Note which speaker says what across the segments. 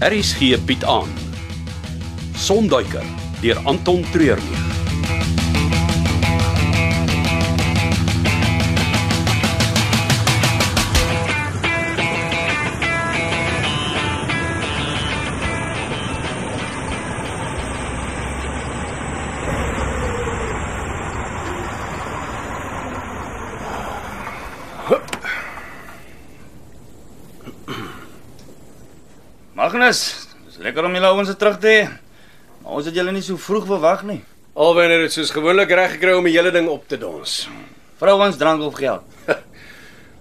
Speaker 1: Aries gee Piet aan. Sonduiker deur Anton Treurnig.
Speaker 2: Magnus, dis lekker om julle ouens terug te hê. Maar ons het julle nie so vroeg verwag nie.
Speaker 3: Alwen het dit soos gewoonlik reg gekry om die hele ding op te dons.
Speaker 2: Vrouens drank of geld.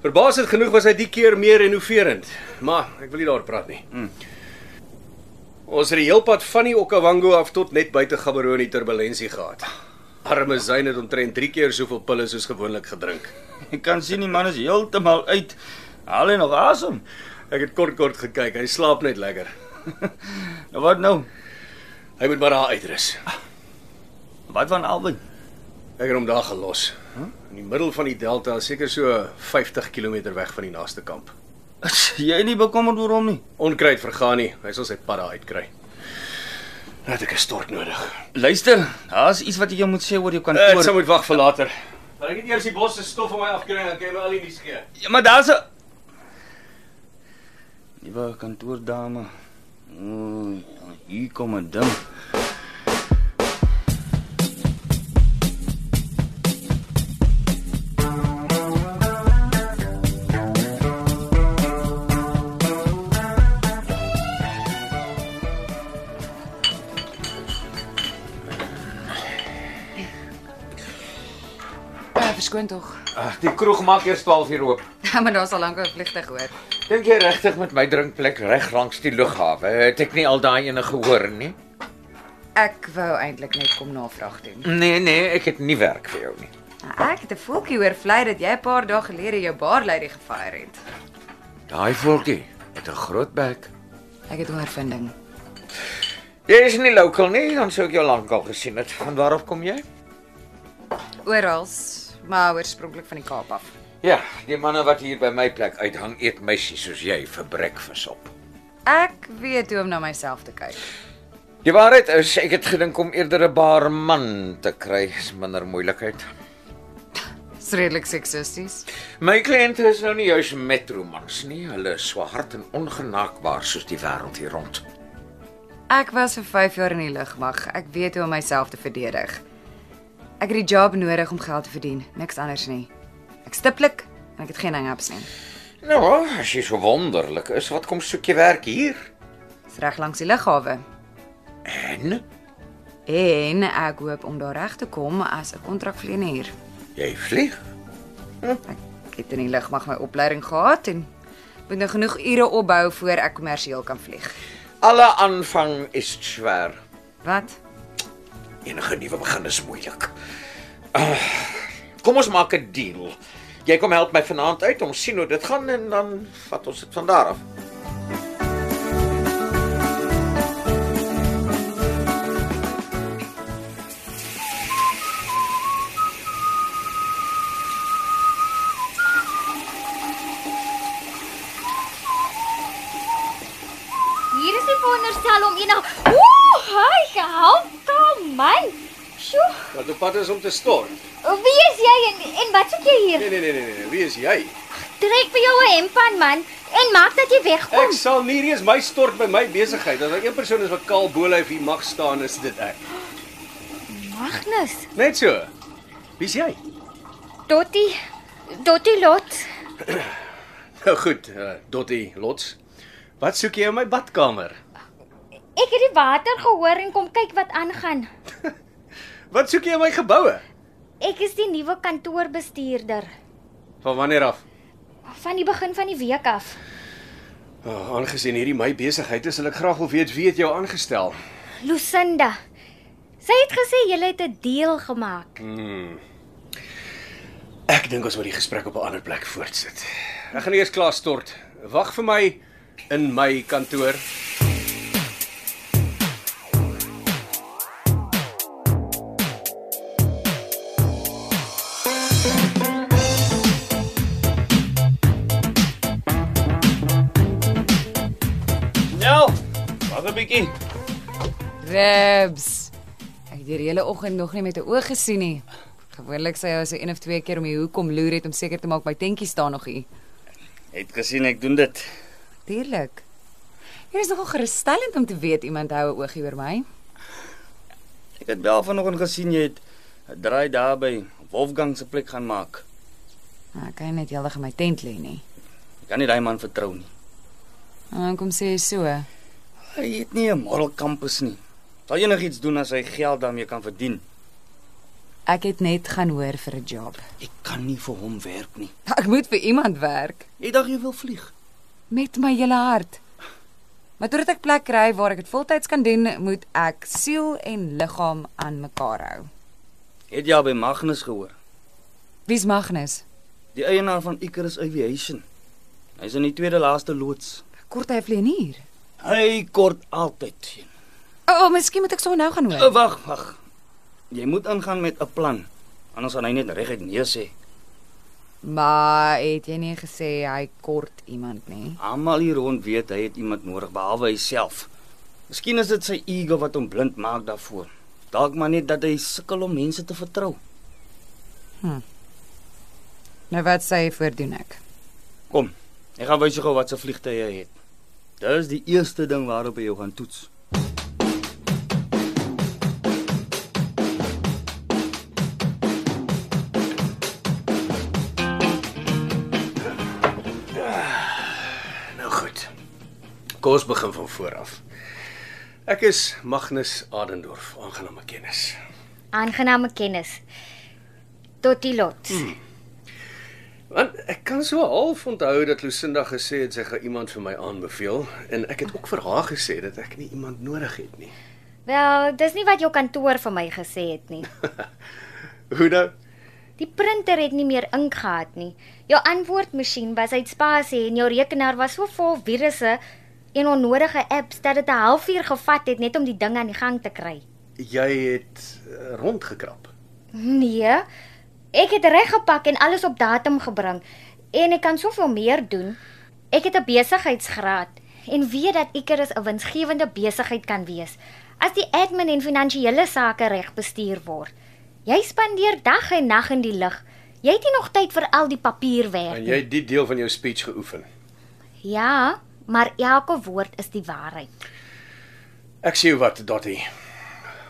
Speaker 3: Verbaasend genoeg was hy die keer meer innoverend, maar ek wil nie daar praat nie. Ons het die heel pad van die Okavango af tot net buite Gaborone turbulentie gehad. Arme Zayn het omtrent 3 keer soveel pille soos gewoonlik gedrink.
Speaker 2: Ek kan sien die man is heeltemal uit. Haal hy nog asem?
Speaker 3: Ek het kort kort gekyk, hy slaap net lekker.
Speaker 2: Nou wat nou?
Speaker 3: Hy moet maar daar uitrus.
Speaker 2: Wat van Alwyn?
Speaker 3: Ek het hom daar gelos. In die middel van die delta, seker so 50 km weg van die naaste kamp.
Speaker 2: Is jy nie bekommerd oor hom nie?
Speaker 3: Onkruid vergaan nie, hy sal sy pad daar uitkry. Nou het ek 'n stort nodig.
Speaker 2: Luister, daar's iets wat ek jou moet sê oor jou
Speaker 3: Ek
Speaker 2: kantoor.
Speaker 3: sou moet wag vir later. Maar ek het eers die bos se stof van my afkry en dan kan jy my al die nuus gee.
Speaker 2: Ja, maar daar's 'n Nuwe kantoordame. Ooh, hier kom 'n ding.
Speaker 4: Uh, verskoon tog. Ja,
Speaker 5: Ag, die kroeg maak eers 12 uur oop.
Speaker 4: maar daar's al lank 'n vliegtyg hoor.
Speaker 5: Dink jy regtig met my drinkplek reg langs die lughawe? Het ek nie al daai ene gehoor nie?
Speaker 4: Ek wou eintlik net kom navraag doen. Ah,
Speaker 5: Nee, nee, ek het nie werk vir jou nie.
Speaker 4: Ek het 'n voeltjie hoor vlei dat jy 'n paar dae gelede jou baarlady gefire het.
Speaker 5: Daai voeltjie het 'n groot bek.
Speaker 4: Ek het 'n ervaring.
Speaker 5: Jy is nie local nie, dan sou ek jou lankal gesien het. Van waar af kom jy?
Speaker 4: Oral, maar oorspronklik van die Kaap af.
Speaker 5: Ja, die manne wat hier by my plek uithang eet meisies soos jy vir breakfast op.
Speaker 4: Ek weet hoe om na myself te kyk.
Speaker 5: Die waarheid is ek het gedink om eerder 'n barman te kry, is minder moeilikheid.
Speaker 4: Dis redelik seksisties.
Speaker 5: My kliënte is nou nie juis metromans nie, hulle is swart en ongenaakbaar soos die wêreld hier rond.
Speaker 4: Ek was vir 5 jaar in die lugmag. Ek weet hoe om myself te verdedig. Ek het die job nodig om geld te verdien, niks anders nie. Ek stiplik en ek het geen hang-ups nie.
Speaker 5: Nou, as jy so wonderlik is, wat kom soek jy werk hier?
Speaker 4: Dis reg langs die lughawe.
Speaker 5: En
Speaker 4: En ek hoop om daar reg te kom as 'n kontrakvlieënier.
Speaker 5: jy vlieg.
Speaker 4: Ek het in die lug mag my opleiding gehad en moet nou genoeg ure opbou voor ek kommersieel kan vlieg.
Speaker 5: Alle aanvang is swaar.
Speaker 4: Wat?
Speaker 5: Enige nuwe begin is moeilik. Ah, Kom ons maak 'n deal. Jy kom help my vanaand uit, ons sien hoe dit gaan en dan vat ons dit van daar af.
Speaker 6: Hier is die wonderstel om enig. Ooh, hy help kom man. Sjoe,
Speaker 3: Wat op pad is om te stort.
Speaker 6: wie is jy en en wat soek jy hier?
Speaker 3: Nee nee nee nee nee, nee, wie is jy?
Speaker 6: Trek vir jou 'n hemp aan man en maak dat jy wegkom.
Speaker 3: Ek sal nie reeds my stort by my besigheid. As daar een persoon is wat kaal bolyf hier mag staan, is dit ek.
Speaker 6: Magnus,
Speaker 3: Net so. Wie's jy?
Speaker 6: Dottie, Dottie Lot.
Speaker 3: Nou goed, uh, Dottie Lots. Wat soek jy in my badkamer?
Speaker 6: Ek het die water gehoor en kom kyk wat aangaan.
Speaker 3: Wat soek jy in my geboue?
Speaker 6: Ek is die nuwe kantoorbestuurder
Speaker 3: Van wanneer af?
Speaker 6: van die begin van die week af.
Speaker 3: Oh, aangesien hierdie my besigheid is, wil ek graag wil weet wie het jou aangestel.
Speaker 6: Lucinda. Sy het gesê jy het 'n deal gemaak.
Speaker 3: Ek dink ons moet die gesprek op 'n ander plek voortsit. Ek gaan eers klaar stort. Wag vir my in my kantoor.
Speaker 2: Nou, bietjie.
Speaker 4: Ribs. Ek het die hele oggend nog nie met 'n oog gesien nie. Gewoonlik sy jou so een of twee keer om die hoek kom loer het om seker te maak my tentjie staan nog hier.
Speaker 2: Het gesien ek doen dit.
Speaker 4: Dierlik. Hier is nogal gerusstellend om te weet iemand hou 'n oogie oor my.
Speaker 2: Ek het wel vanoggend gesien jy het 'n draai daar by Wolfgang se plek gaan maak.
Speaker 4: Nou, ek kan net heeldag in my tent lê nie.
Speaker 2: Ek kan nie daai man vertrou nie.
Speaker 4: Nou, kom sê jy so.
Speaker 2: Hy het nie 'n moral kampus nie. Sal enigiets doen as hy geld daarmee kan verdien.
Speaker 4: Ek het net gaan hoor vir 'n job.
Speaker 2: Ek kan nie vir hom werk nie.
Speaker 4: Ek moet vir iemand werk
Speaker 2: Ek dink jy wil vlieg.
Speaker 4: met my hele hart. Maar totdat ek plek kry waar ek dit voltyds kan doen, moet ek siel en liggaam aan mekaar hou.
Speaker 2: Het jy al by Magnus gehoor?
Speaker 4: Wie's Magnus?
Speaker 2: Die eienaar van Icarus Aviation. Hy's in die tweede laaste loods.
Speaker 4: Kort hy 'n vlieënier?
Speaker 2: Hy kort altyd teen.
Speaker 4: O, oh, miskien moet ek sommer nou gaan hoor.
Speaker 2: Uh, Wag, wag. Jy moet ingaan met 'n plan. Anders gaan hy net reguit nee sê.
Speaker 4: Maar het jy nie gesê hy kort iemand nie?
Speaker 2: Almal hier rond weet hy het iemand nodig behalwe hy self. Miskien is dit sy ego wat hom blind maak daarvoor. Dalk maar net dat hy sukkel om mense te vertrou.
Speaker 4: Nou wat sê jy voordoen ek?
Speaker 2: Kom. Ek gaan wys jou gou wat se vliegtye hy het. Dis die eerste ding waarop hy jou gaan toets.
Speaker 7: Nou goed. Kom ons begin van voor af. Ek is Magnus Adendorf, aangename kennis.
Speaker 6: Aangename kennis. Tot die lot.
Speaker 7: Want ek kan so half onthou dat Lusinda gesê het sy gaan iemand vir my aanbeveel en ek het ook vir haar gesê dat ek nie iemand nodig het nie.
Speaker 6: Wel, dis nie wat jou kantoor vir my gesê het nie.
Speaker 7: Hoe nou?
Speaker 6: Die printer het nie meer ink gehad nie. Jou antwoordmasjien was uit spasie en jou rekenaar was so vol virusse en onnodige apps dat dit 'n halfuur gevat het net om die ding aan die gang te kry.
Speaker 7: Jy het eh, rondgekrap.
Speaker 6: Nee. Ek het reggepak en alles op datum gebring en ek kan soveel meer doen. Ek het 'n besigheidsgraad en weet dat Icarus 'n winsgewende besigheid kan wees as die admin en finansiële sake reg bestuur word. Jy spandeer dag en nag in die lig. Jy het nie nog tyd vir al die papierwerk
Speaker 7: En jy het die deel van jou speech geoefen.
Speaker 6: Ja, maar elke woord is die waarheid.
Speaker 7: Ek sê jou wat, Dotty.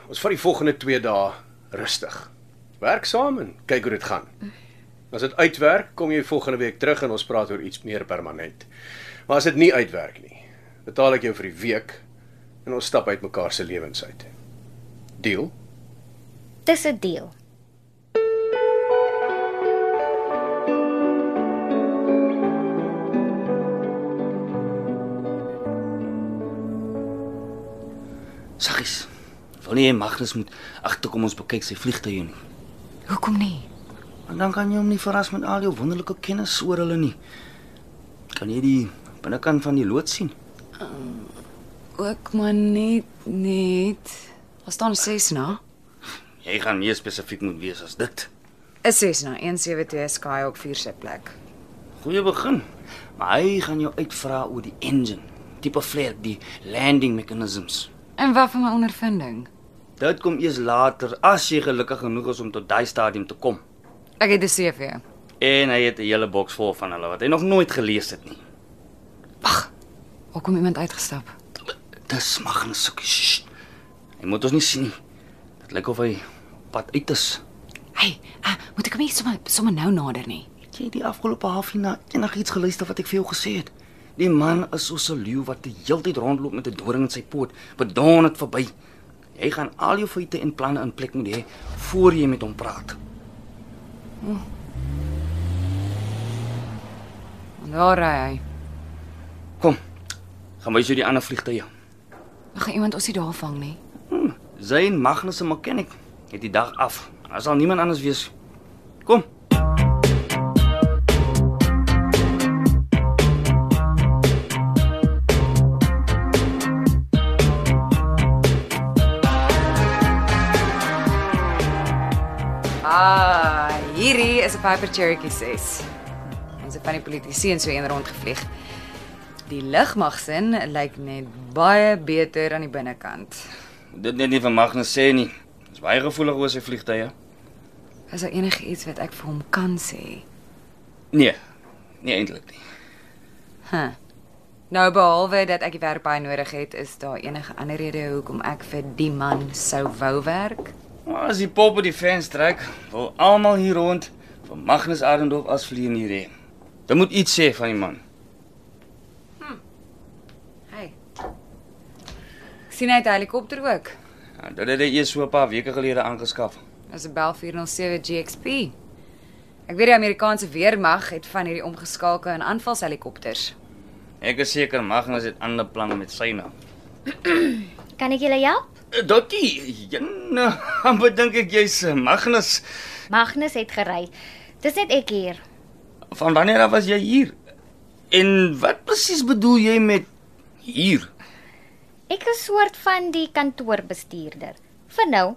Speaker 7: Ons vat die volgende 2 dae rustig. Werk saam en kyk hoe dit gaan. As dit uitwerk, kom jy volgende week terug en ons praat oor iets meer permanent. Maar as dit nie uitwerk nie, betaal ek jou vir die week en ons stap uit mekaar se lewens uit. Deal?
Speaker 6: Dis 'n deel.
Speaker 2: Saggies. Wil nie hy Magnus moet agterkom ons bekyk sy vliegtye nie.
Speaker 4: Hoekom nie?
Speaker 2: En dan kan jy hom nie verras met al jou wonderlike kennis oor hulle nie. Kan jy die binnekant van die loods sien?
Speaker 4: Ook maar net net. Daar staan 'n Cessna.
Speaker 2: Jy gaan meer spesifiek moet wees as dit.
Speaker 4: 'n Cessna 172 Skyhawk 4 sitplek.
Speaker 2: Goeie begin. Maar hy gaan jou uitvra oor die engine, tipe flare, die landing mechanisms.
Speaker 4: En wat van my ondervinding?
Speaker 2: Dit kom eers later as jy gelukkig genoeg is om tot daai stadium te kom.
Speaker 4: Ek het 'n CV.
Speaker 2: En hy het 'n hele boks vol van hulle wat hy nog nooit gelees het nie.
Speaker 4: Hoekom iemand uitgestap?
Speaker 2: Dis Magnus soekie. sst. Hy moet ons nie sien nie. Dit lyk of hy op pad uit is.
Speaker 4: Hey, uh, moet ek hom nie sommer sommer nou nader nie.
Speaker 2: Het jy die afgelope halfuur na enigiets geluister wat ek vir jou gesê het? Die man is so 'n leeu wat die heeltyd rondloop met 'n doring in sy poot. Bedon dit verby. Jy gaan al jou feite en planne in plek moet hê voor jy met hom praat.
Speaker 4: Want daar ry hy.
Speaker 2: Kom. Gaan wys jou die ander vliegtye.
Speaker 4: Mag iemand ons nie daar vang nie.
Speaker 2: Zayn Magnus se mechanic het die dag af. Daar sal niemand anders wees. Kom.
Speaker 4: Ah, hierdie is 'n Piper Cherokee 6. Ons het van die politici en so een rond gevlieg. Die lugmagsin lyk net baie beter aan die binnekant.
Speaker 2: Dit net nie vir Magnus sê nie. Hy's baie gevoelig oor sy vliegtye.
Speaker 4: Is daar enige iets wat ek vir hom kan sê?
Speaker 2: Nee. Nee eintlik nie.
Speaker 4: Huh. Nou behalwe dat ek die werk baie nodig het, is daar enige ander rede hoekom ek vir die man sou wou werk?
Speaker 2: Maar as die pop op die fans trek, wil almal hier rond vir Magnus Arendorf as vleienier hê. Dit moet iets sê van die man.
Speaker 4: Hey. Ek sien hy het 'n helikopter ook.
Speaker 2: Ja, dit het hy eers so 'n paar weke gelede aangeskaf.
Speaker 4: Dis 'n Bell 407 GXP. Ek weet die Amerikaanse weermag het van hierdie omgeskakel en aanvalshelikopters.
Speaker 2: Ek is seker Magnus het ander planne met sy naam.
Speaker 6: Kan ek julle help?
Speaker 2: Dokkie, nou, amper dink ek jy's eh, Magnus.
Speaker 6: Magnus het gery. Dis net ek hier.
Speaker 2: Van wanneer af was jy hier? En wat presies bedoel jy met hier?
Speaker 6: Ek is soort van die kantoorbestuurder. Vir nou.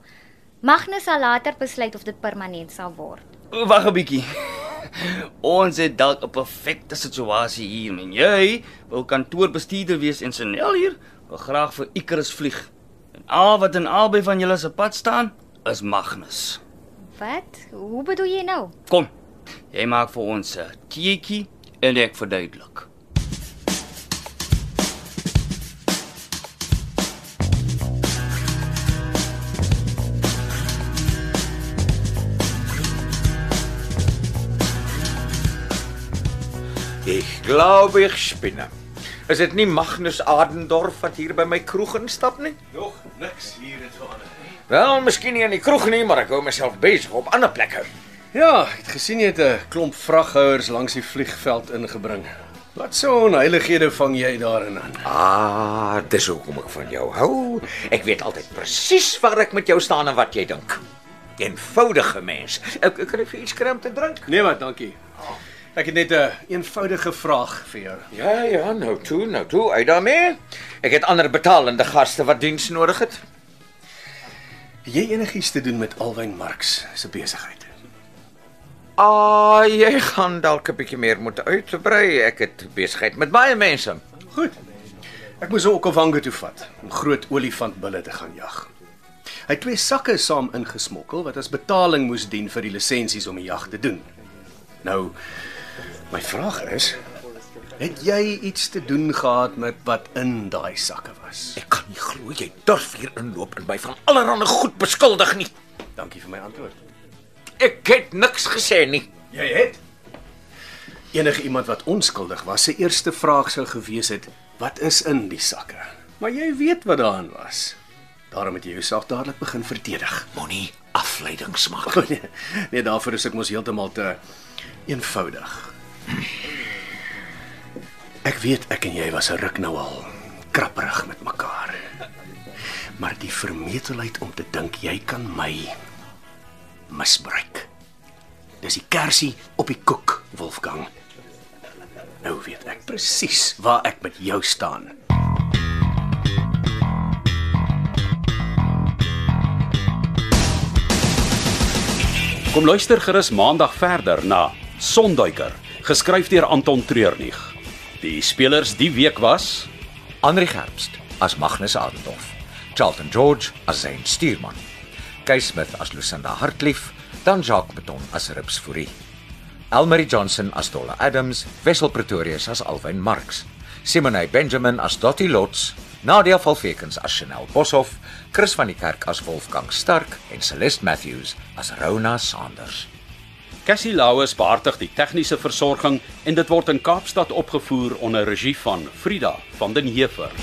Speaker 6: Magnus sal later besluit of dit permanent sal word.
Speaker 2: O, Wag 'n bietjie. Ons het dalk 'n perfekte situasie hier, men jy wil kantoorbestuurder wees en Senel hier wil graag vir Icarus vlieg. En al wat in albei van julle se pad staan, is Magnus.
Speaker 6: Wat? Hoe bedoel jy nou?
Speaker 2: Kom. Jy maak vir ons 'n teetjie en ek verduidelik.
Speaker 5: Ich glaube, ich spinne. Is dit nie Magnus Adendorf wat hier by my kroeg instap nie?
Speaker 7: Nog niks hier in Johanna.
Speaker 5: Wel, miskien nie in die kroeg nie, maar ek hou myself besig op ander plekke.
Speaker 7: Ja, ek het gesien jy het 'n klomp vraghouers langs die vliegveld ingebring. Wat so onheilighede vang jy daarin aan?
Speaker 5: Ah, dis hoekom ek van jou hou. Ek weet altyd presies waar ek met jou staan en wat jy dink. Eenvoudige mens. Ek ek kry vir iets krem te drink.
Speaker 7: Nee, maar dankie. Ek het net 'n eenvoudige vraag vir jou.
Speaker 5: Ja, ja, nou toe, nou toe, uit daarmee. Ek het ander betalende gaste wat diens nodig het.
Speaker 7: Het jy enigiets te doen met Alwyn Marx se besigheid?
Speaker 5: Ah, jy gaan dalk 'n bietjie meer moet uitbrei. Ek het besigheid met baie mense.
Speaker 7: Goed. Ek moes hom Okavango toe vat om groot olifantbulle te gaan jag. Hy het twee sakke saam ingesmokkel wat as betaling moes dien vir die lisensies om die jag te doen. Nou my vraag is, het jy iets te doen gehad met wat in daai sakke was?
Speaker 5: Ek kan nie glo jy durf hier inloop en my van allerlei goed beskuldig nie.
Speaker 7: Dankie vir my antwoord.
Speaker 5: Ek het niks gesê nie.
Speaker 7: Jy het enige iemand wat onskuldig was, se eerste vraag sou gewees het: "Wat is in die sakke?" Maar jy weet wat daarin was. Daarom het jy jouself dadelik begin verdedig.
Speaker 5: Moenie afleidings maak.
Speaker 7: nee, nee, daarvoor is ek mos heeltemal te eenvoudig. Ek weet ek en jy was 'n ruk nou al krapperig met mekaar. Maar die vermetelheid om te dink jy kan my misbruik. Dis die kersie op die koek, Wolfgang. Nou weet ek presies waar ek met jou staan.
Speaker 3: Kom luister gerus maandag verder na Sonduiker, geskryf deur Anton Treurnig. Die spelers die week was
Speaker 5: Andri Gerbst as Magnus Adendorf, Charlton George as Zain Stuurman, Kay Smith as Lucinda Hartlief, dan Jacques Beton as Rips Fourie, Elmarie Johnson as Dolla Adams, Wessel Pretorius as Alwyn Marx, Simonay Benjamin as Dottie Lots, Nadia Valvekens as Chanel Boshoff, Chris van die Kerk as Wolfgang Stark en Celeste Matthews as Rona Sanders.
Speaker 3: Cassie Lauers behartig die tegniese versorging en dit word in Kaapstad opgevoer onder regie van Frida van den Heever.